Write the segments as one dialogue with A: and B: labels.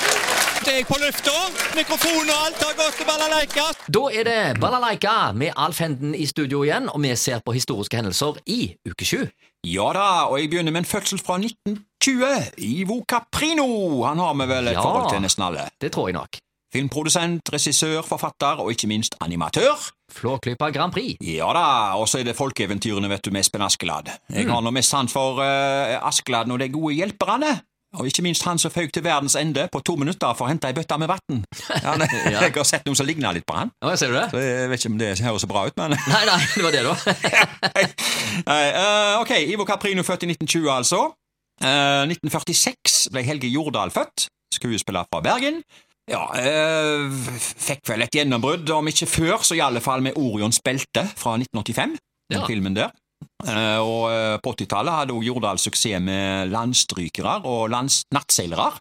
A: Snart er jeg på lufta. Mikrofon og alt har gått til balalaika.
B: Da er det Balalaika med Alf Henden i studio igjen, og vi ser på historiske hendelser i uke sju.
A: Ja da, og jeg begynner med en fødsel fra 1920. Ivo Caprino. Han har vi vel et
B: Ja.
A: forhold til, nesten alle.
B: Det tror jeg nok.
A: Filmprodusent, regissør, forfatter og ikke minst animatør.
B: Flåklypa Grand Prix.
A: Ja da, og så er det folkeeventyrene, vet du, med Espen Askeladd.
B: Mm.
A: Jeg har nå mest sans for uh, Askeladden og de gode hjelperne. Og ikke minst han som føk til verdens ende på to minutter for å hente ei bøtte med vann. Han-
B: Ja.
A: Jeg har sett noen som ligner litt på han.
B: Ja, ser du det?
A: Jeg vet ikke om det høres så bra ut, men
B: Nei, nei, det var det, da.
A: Nei, eh, ok, Ivo Caprino født i 1920 altså. Eh, 1946 ble Helge Jordal født, skuespiller fra Bergen. Ja, eh, fikk vel et gjennombrudd, om ikke før, så i alle fall med Orions belte fra 1985, den
B: Ja.
A: filmen der. Eh, og eh, på 80-tallet hadde også Jordal suksess med landstrykere og lands nattseilere.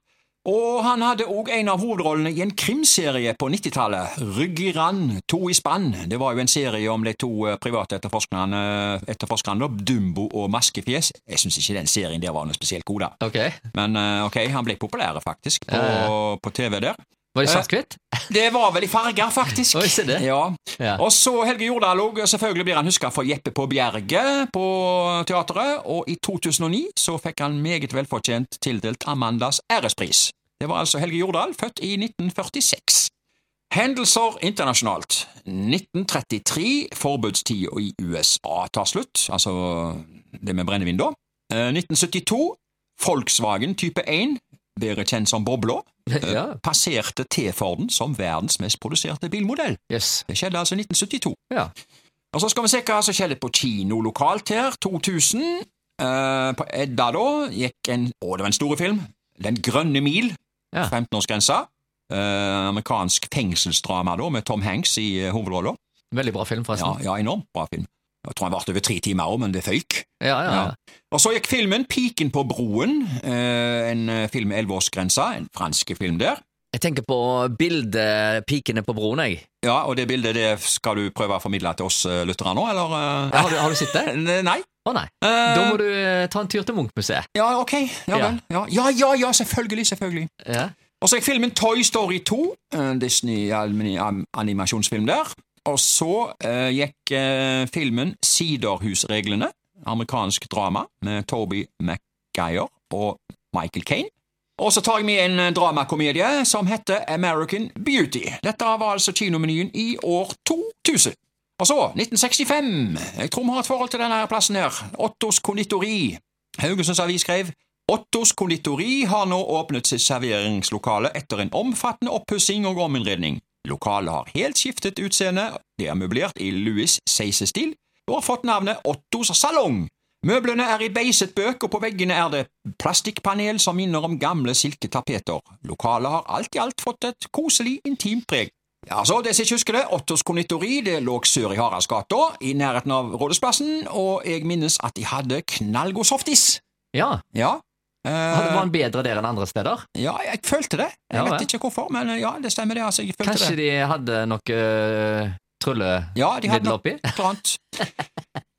A: Og han hadde òg en av hovedrollene i en krimserie på 90-tallet, Rygg i rand, to i spann. Det var jo en serie om de to eh, private etterforskerne, etterforskerne da, Dumbo og Maskefjes. Jeg syns ikke den serien der var noe spesielt god, da.
B: Ok.
A: Men eh, ok, han ble populær faktisk på,
B: Ja.
A: på TV der.
B: Var det svart-hvitt?
A: Det var vel i farger, faktisk.
B: Oi, se det.
A: Ja.
B: Ja.
A: Og så Helge Jordal òg. Selvfølgelig blir han huska for Jeppe på Bjerget på teatret. Og i 2009 så fikk han meget velfortjent tildelt Amandas ærespris. Det var altså Helge Jordal, født i 1946. Hendelser internasjonalt. 1933, forbudstida i USA tar slutt, altså det med brennevin, da. Eh, 1972, Volkswagen type 1, bedre kjent som Bobla,
B: Ja.
A: passerte T-Forden som verdens mest produserte bilmodell.
B: Jøss.
A: Det skjedde altså i 1972.
B: Ja.
A: Og så skal vi se hva som skjedde på kino lokalt her, 2000. Eh, på Edda da gikk en, å det var en stor film, Den grønne mil,
B: Ja.
A: 15-årsgrensa. Eh, amerikansk fengselsdrama da, med Tom Hanks i eh, hovedrollen.
B: Veldig bra film,
A: Ja,
B: forresten.
A: ja, enormt bra film. Jeg tror han varte over tre timer òg, men det føyk.
B: Ja, ja.
A: Ja. Og så gikk filmen Piken på broen, eh, en eh, film med 11-årsgrensa, en fransk film der.
B: Jeg tenker på bildet Pikene på broen, jeg.
A: Ja, og det bildet det skal du prøve å formidle til oss eh, lyttere nå, eller? eh?
B: Ja, har, du, har du sett det?
A: N- Nei.
B: Å nei.
A: Eh,
B: Da må du eh, ta en tur til Munch-museet.
A: Ja, ok. Ja
B: Ja.
A: vel. Ja, ja, ja, ja selvfølgelig, selvfølgelig.
B: Ja.
A: Og så gikk filmen Toy Story eh, 2, en Disney-animasjonsfilm der. Og så eh, gikk eh, filmen Siderhusreglene, amerikansk drama med Toby McGuire og Michael Kane. Og så tar jeg med en eh, dramakomedie som heter American Beauty. Dette var altså kinomenyen i år 2000. Og så, 1965. Jeg tror vi har et forhold til denne her plassen her. Ottos konditori. Haugesunds Avis skrev Ottos konditori har nå åpnet sitt serveringslokale etter en omfattende oppussing og ominnredning. Lokalet har helt skiftet utseende, det er møblert i Louis Seise-stil og har fått navnet Ottos salong. Møblene er i beiset bøk, og på veggene er det plastikkpanel som minner om gamle silketapeter. Lokalet har alt i alt fått et koselig, intimt preg. Ja, så det som ikke husker det, Ottos konditori det lå sør i Haraldsgata, i nærheten av Rådhusplassen, og jeg minnes at de hadde knallgod softis.
B: ja.
A: Ja. Eh,
B: Var den bedre der enn andre steder?
A: ja, jeg følte det. Jeg
B: Ja,
A: vet
B: vel.
A: ikke hvorfor, men eh, ja, det stemmer det. altså, jeg følte
B: Kanskje
A: det.
B: de hadde noe eh, tryllemidler
A: Ja, de hadde noe
B: oppi?
A: et eller annet.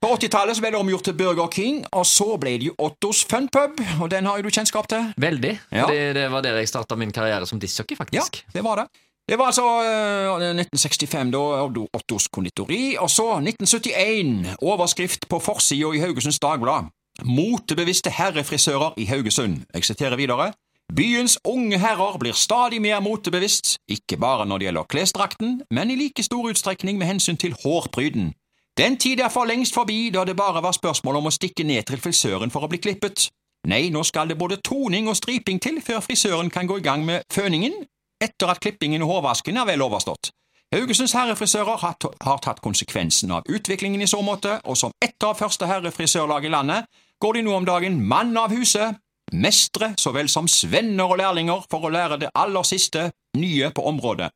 A: På 80-tallet så ble det omgjort til Burger King, og så ble det jo Ottos Funpub, og den har jo du kjennskap til.
B: Veldig.
A: Ja.
B: Fordi det var der jeg starta min karriere som discjockey,
A: Ja,
B: faktisk.
A: det var det. Det var altså eh, 1965, da, og da Ottos konditori, og så 1971, overskrift på forsida i Haugesunds Dagblad. Motebevisste herrefrisører i Haugesund. Jeg siterer videre. Byens unge herrer blir stadig mer motebevisst, ikke bare når det gjelder klesdrakten, men i like stor utstrekning med hensyn til hårpryden. Den tid er for længst forbi da det bare var spørsmål om å stikke ned til frisøren for å bli klippet. Nei, nå skal det både toning og striping til før frisøren kan gå i gang med føningen, etter at klippingen og hårvasken er vel overstått. Haugesunds herrefrisører har, t- har tatt konsekvensen av utviklingen i så måte, og som ett av første herrefrisørlag i landet går de nå om dagen mann av huset, mestre så vel som svenner og lærlinger for å lære det aller siste nye på området.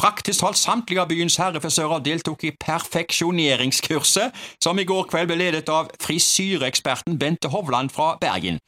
A: Praktisk talt samtlige av byens herrefrisører deltok i perfeksjoneringskurset, som i går kveld ble ledet av frisyreeksperten Bente Hovland fra Bergen.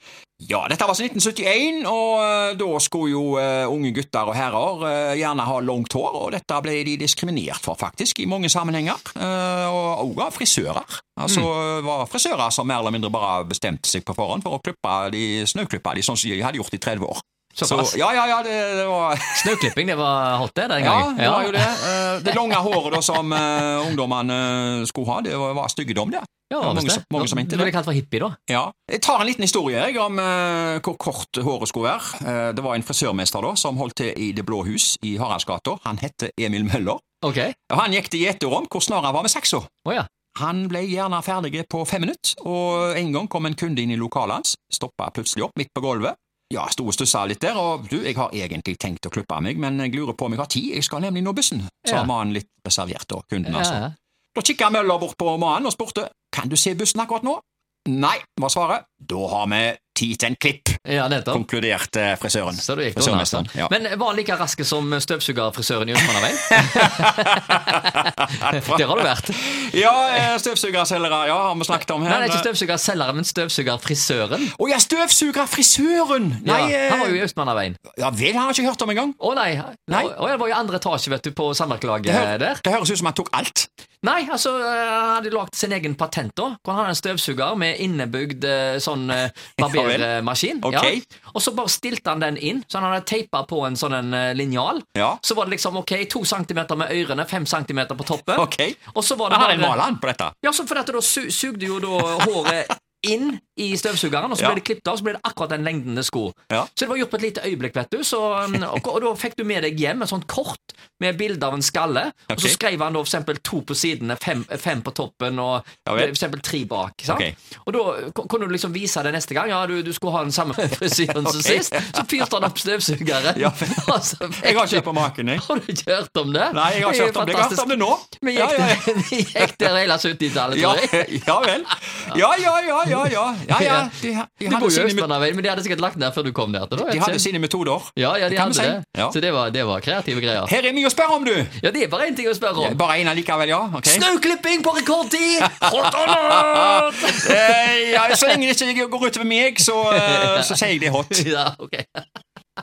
A: Ja, dette var altså 1971, og eh, da skulle jo eh, unge gutter og herrer eh, gjerne ha langt hår, og dette ble de diskriminert for, faktisk, i mange sammenhenger, eh, og også av frisører. Altså var frisører som mer eller mindre bare bestemte seg på forhånd for å klippe de, snauklippe de sånn som de hadde gjort i 30 år.
B: Såpass.
A: ja, ja, ja, det, det var
B: Snauklipping, det var hot, det, den
A: Ja,
B: gangen.
A: det var jo det. Eh, Det lange håret da som eh, ungdommene skulle ha, det var var styggedom, det.
B: Ja,
A: Ja, mange
B: visst
A: som- mange som mente
B: det.
A: det.
B: Ble det kalt for hippie, da?
A: Ja. Jeg tar en liten historie jeg, om eh, hvor kort håret skulle være. Eh, det var en frisørmester da, som holdt til i Det blå hus i Haraldsgata. Han het Emil Møller.
B: Ok. Å
A: Og Han gikk til gjeterom hvor snarere var med saksa.
B: ja.
A: Han ble gjerne ferdig på fem minutter, og en gang kom en kunde inn i lokalet hans, stoppa plutselig opp midt på gulvet. Ja, sto og stussa litt der, og du, jeg har egentlig tenkt å klippe meg, men jeg lurer på om jeg har tid, jeg skal nemlig nå bussen, sa
B: Ja.
A: mannen litt reservert, da, kunden,
B: ja,
A: altså.
B: ja.
A: Da kikka Møller bort på mannen og spurte kan du se bussen akkurat nå. Nei, var svaret. Da har vi tid til en klipp,
B: ja nettopp.
A: konkluderte frisøren.
B: Så du gikk da,
A: Frisørmesteren. Ja.
B: Men var han like raske som støvsugerfrisøren i Østmannaveien? Der har du vært.
A: Ja, eh, støvsugerselgere, ja, har vi snakket om her.
B: Nei, det er ikke støvsugerselgeren, men støvsugerfrisøren.
A: Å ja, støvsugerfrisøren!
B: Ja,
A: Nei, eh,
B: han var jo i Østmannaveien.
A: ja vel, han har ikke hørt om engang.
B: Å nei.
A: Nei.
B: Å, ja, det var jo i andre etasje, vet du, på
A: Det,
B: samvirkelaget
A: hø-
B: der.
A: det høres ut som han tok alt.
B: Nei, altså, eh, han hadde lagd sin egen patent da. Hvor han hadde en støvsuger med innebygd eh, sånn eh, barbermaskin.
A: Ok.
B: Og så bare stilte han den inn, så han hadde teipa på en sånn en eh, linjal.
A: Ja.
B: Så var det liksom ok, to centimeter med ørene, fem centimeter på toppen.
A: Ok.
B: Og så var det
A: Han har en
B: bare
A: maler på dette.
B: Ja, så for dette, da su sugde jo da håret inn i støvsugeren, og så
A: Ja.
B: ble det klippet av, så ble det akkurat den lengden det skulle.
A: Ja.
B: Så det var gjort på et lite øyeblikk, vet du. Så, um, og, og da fikk du med deg hjem et sånt kort med bilde av en skalle, og
A: Ok.
B: så skrev han da for eksempel to på sidene, fem, fem på toppen og
A: Ja
B: eh,
A: vel.
B: for eksempel tre bak. Sant?
A: Ok.
B: Og da k- kunne du liksom vise det neste gang. Ja, du, du skulle ha den samme frisyren som
A: Ok.
B: sist. Så fyrte han opp støvsugeren.
A: Ja, men-
B: og så fikk
A: Jeg har
B: du-
A: ikke hørt på maken, jeg.
B: Har du ikke hørt om det?
A: Nei, jeg har ikke
B: er
A: hørt om det. Jeg har hørt
B: fantastisk.
A: om det nå.
B: Vi
A: Ja,
B: gikk,
A: ja, ja.
B: der- vi gikk der hele 70-tallet,
A: Ja,
B: tror jeg.
A: ja vel. Ja, ja, ja, ja. ja, ja, ja. De,
B: Du
A: de,
B: bor
A: hadde
B: jo i
A: sine,
B: Østmannaveien, men de hadde sikkert lagt den der før du kom der. til, da,
A: de
B: vet
A: hadde
B: du.
A: sine metoder.
B: Ja, ja, de
A: Det
B: hadde
A: kan du si.
B: det.
A: Ja.
B: Så det var, det var kreative greier.
A: Her er mye å spørre om, du!
B: Ja, det er bare én ting å spørre om.
A: Bare én allikevel, ja? ok?
B: Snauklipping på rekordtid! Hot or not!
A: Eh, ja, så lenge det ikke går utover meg, så, eh, så sier jeg det er hot.
B: Ja, ok.